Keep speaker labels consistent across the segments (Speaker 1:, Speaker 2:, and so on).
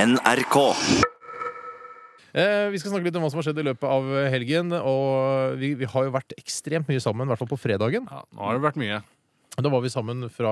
Speaker 1: NRK.
Speaker 2: Eh, vi skal snakke litt om hva som har skjedd i løpet av helgen. Og vi, vi har jo vært ekstremt mye sammen, i hvert fall på fredagen.
Speaker 3: Ja, nå har det vært mye.
Speaker 2: Da var vi sammen fra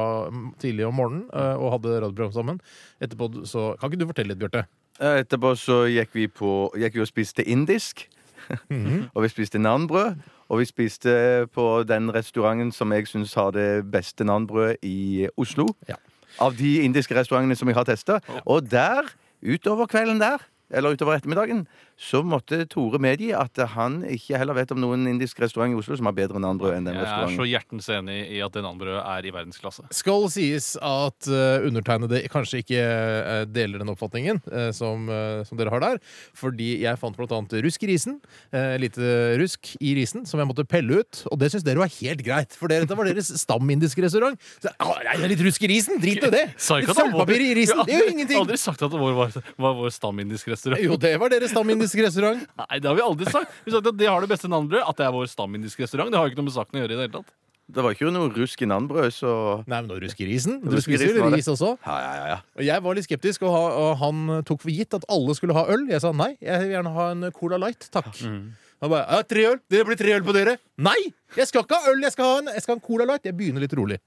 Speaker 2: tidlig om morgenen eh, og hadde radioprogram sammen. Etterpå så Kan ikke du fortelle litt, Bjarte?
Speaker 4: Eh, Etterpå så gikk vi, på, gikk vi og spiste indisk.
Speaker 2: Mhm.
Speaker 4: og vi spiste nanbrød. Og vi spiste på den restauranten som jeg syns har det beste nanbrødet i Oslo.
Speaker 2: Ja.
Speaker 4: Av de indiske restaurantene som jeg har testa. Og der, utover kvelden der, eller utover ettermiddagen, så måtte Tore medgi at han ikke heller vet om noen indisk restaurant i Oslo som har bedre nanbrød enn den
Speaker 3: Jeg er så
Speaker 4: restauranten.
Speaker 3: hjertens enig i at Denanbrødet er i verdensklasse.
Speaker 2: Skal sies at eh, undertegnede kanskje ikke eh, deler den oppfatningen eh, som, eh, som dere har der. Fordi jeg fant blant annet rusk i risen. Uh, lite rusk i risen som jeg måtte pelle ut. Og det syns dere var helt greit, for dere, dette var deres stamindiske restaurant. Så, ah, nei, det er litt rusk i risen! Drit nå i det!
Speaker 3: Sa
Speaker 2: Litt
Speaker 3: ikke at det var-
Speaker 2: sølvpapir i
Speaker 3: Jeg
Speaker 2: risen,
Speaker 3: har
Speaker 2: det gjør
Speaker 3: aldri-
Speaker 2: jo
Speaker 3: Jeg har
Speaker 2: ingenting!
Speaker 3: aldri sagt at det var vår, var vår stamindiske restaurant.
Speaker 2: Jo, det var deres stamindiske restaurant.
Speaker 3: Nei, det har vi aldri sagt. Vi har sagt at de har det beste navnbrødet. At det er vår stamindiske restaurant. Det har jo ikke noe med saken å gjøre i det hele tatt.
Speaker 4: Det var ikke noe rusk i nanbrød, så
Speaker 2: Nei, men nå rusker risen. Du
Speaker 4: Rusk i
Speaker 2: spiser
Speaker 4: risen var
Speaker 2: jo
Speaker 4: det.
Speaker 2: ris også.
Speaker 4: Ja, ja, ja. ja.
Speaker 2: Og jeg var litt skeptisk, og, ha, og han tok for gitt at alle skulle ha øl. Jeg sa nei, jeg vil gjerne ha en Cola Light, takk.
Speaker 4: Mm.
Speaker 2: Han bare ja, tre øl. Det blir tre øl på dere. Nei! Jeg skal ikke ha øl, jeg skal ha en, jeg skal ha en Cola Light. Jeg begynner litt rolig.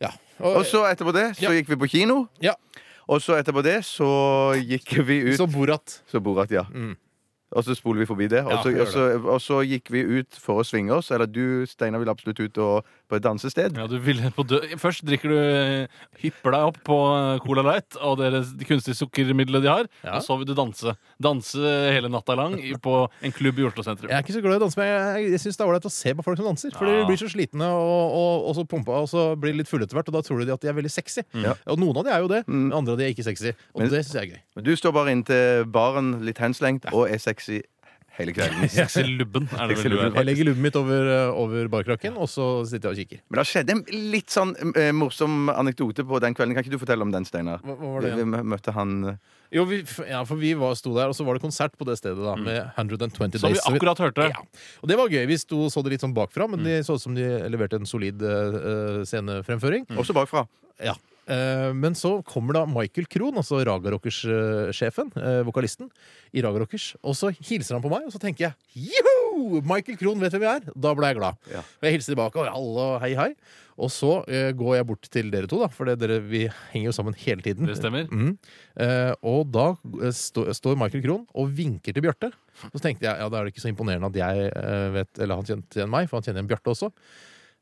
Speaker 2: Ja. Og,
Speaker 4: Mm. Og så etterpå det så
Speaker 2: Ja.
Speaker 4: gikk vi på kino.
Speaker 2: ja.
Speaker 4: Og så etterpå det så gikk vi ut
Speaker 2: Så Borat.
Speaker 4: Så Borat, ja. Og så spoler vi forbi det. Og
Speaker 2: Mm. Ja,
Speaker 4: så,
Speaker 2: gjør
Speaker 4: og, så, og så gikk vi ut for å svinge oss. Eller du, Steinar, ville absolutt ut og, på et dansested.
Speaker 3: Ja, du ville på dø Først drikker du eh, hypper deg opp på eh, Cola Light og det kunstige sukkermiddelet de har,
Speaker 2: Ja.
Speaker 3: og så vil du danse. Danse hele natta lang i- på en klubb i Oslo sentrum.
Speaker 2: Jeg er ikke så glad i å danse, men jeg, jeg syns det er ålreit å se på folk som danser. For de
Speaker 3: Ja.
Speaker 2: blir så slitne og, og, og så pumpa, og så blir de litt fulle etter hvert, og da tror de at de er veldig sexy.
Speaker 4: Mm. Ja. Mm.
Speaker 2: Og noen av de er jo det, men andre av de er ikke sexy. Og det syns jeg er gøy.
Speaker 4: Men du står bare inntil baren, litt henslengt, og er sexy hele kvelden.
Speaker 3: Sexy lubben er det vel
Speaker 4: Sexy
Speaker 3: du er.
Speaker 4: lubben.
Speaker 2: Jeg legger lubben mitt over, eh, over barkrakken, og så sitter jeg og kikker.
Speaker 4: Men det skjedde en litt sånn eh, morsom anekdote på den kvelden. Kan ikke du fortelle om den, Steinar?
Speaker 2: Hva, hva var det?
Speaker 4: Vi mø- møtte han eh,
Speaker 2: Jo, vi, f- ja, for vi var, sto der, og så var det konsert på det stedet da, med 120
Speaker 3: Som vi
Speaker 2: Days. Mm. Så vi-
Speaker 3: akkurat hørte.
Speaker 2: Ja. Og det var gøy. Vi sto, så det litt sånn bakfra, men de så ut som de leverte en solid eh, eh, scenefremføring.
Speaker 4: også bakfra.
Speaker 2: Ja. Eh, men så kommer da Michael Krohn, altså Ragarockers-sjefen, vokalisten, i Ragarockers, og så hilser han på meg, og så tenker jeg Joho! Michael Krohn vet hvem jeg er! Da ble jeg glad.
Speaker 4: Ja.
Speaker 2: Og jeg hilser tilbake, og alle og hei, hei. Og så eh, går jeg bort til dere to, da, for det er dere, vi henger jo sammen hele tiden.
Speaker 3: Det stemmer.
Speaker 2: Mm. Eh, og da eh, stå, står Michael Krohn og vinker til Bjarte. Så tenkte jeg ja, da er det ikke så imponerende at jeg eh, vet Eller han kjente igjen meg, for han kjenner igjen Bjarte også.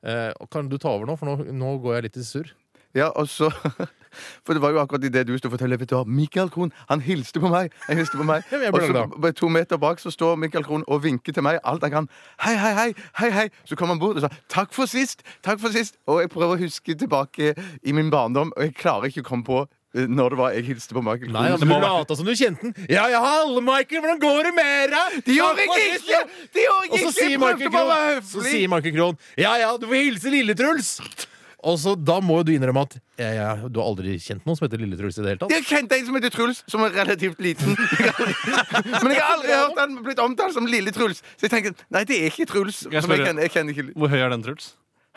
Speaker 2: Eh, og kan du ta over nå, for nå, nå går jeg litt i surr.
Speaker 4: Ja, og så For det var jo akkurat idet du sto og fortalte vet du hva, Michael Krohn, han hilste på meg! Han hilste på meg.
Speaker 2: Ja, men jeg
Speaker 4: og
Speaker 2: ble
Speaker 4: så
Speaker 2: glad.
Speaker 4: bare to meter bak så står Michael Krohn og vinker til meg alt han kan. Hei, hei, hei! hei, hei Så kom han bort og sa 'takk for sist', takk for sist. Og jeg prøver å huske tilbake i min barndom, og jeg klarer ikke å komme på eh, når det var jeg hilste på Michael
Speaker 2: Nei,
Speaker 4: Krohn.
Speaker 2: altså,
Speaker 3: må
Speaker 2: Du
Speaker 3: ha vært-
Speaker 2: lata som du kjente den. Ja, ja, alle, Michael! Hvordan går det med deg?
Speaker 4: De gjorde
Speaker 2: Takk for
Speaker 4: jeg
Speaker 2: sist,
Speaker 4: ikke! De gjorde
Speaker 2: Og
Speaker 4: jeg
Speaker 2: så
Speaker 4: ikke!
Speaker 2: sier
Speaker 4: Jeg
Speaker 2: Michael
Speaker 4: prøvde bare å være
Speaker 2: Krohn Så
Speaker 4: høflig!
Speaker 2: sier Michael Krohn Ja, ja, du får hilse Lille-Truls! Og så da må jo du innrømme at ja, ja, du har aldri kjent noen som heter Lille-Truls i det hele tatt.
Speaker 4: Jeg kjente en som heter Truls, som er relativt liten. Men jeg har aldri hørt han blitt omtalt som Lille Truls. Så jeg tenker, nei, det er ikke Truls.
Speaker 3: jeg
Speaker 4: som jeg,
Speaker 3: spørre?
Speaker 4: kjenner, jeg kjenner ikke
Speaker 3: Hvor høy er den, Truls?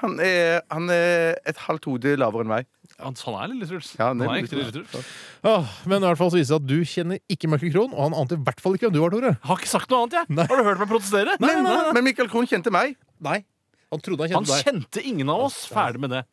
Speaker 4: Han er, han er et halvt hode lavere enn meg.
Speaker 3: Han, han er lille Truls.
Speaker 4: Ja,
Speaker 3: han
Speaker 4: han
Speaker 3: er
Speaker 4: er
Speaker 3: ekte
Speaker 4: lille
Speaker 3: lille Truls.
Speaker 2: Åh, men i hvert fall så viser det seg at du kjenner ikke Michael Krohn, og han ante i hvert fall ikke hvem du var, Tore.
Speaker 3: Jeg har ikke sagt noe annet, jeg. Har du hørt meg protestere?
Speaker 4: Men, men Michael Krohn kjente meg.
Speaker 2: Nei, han trodde han
Speaker 3: Han
Speaker 2: kjente deg.
Speaker 3: kjente ingen av oss. Ferdig med det.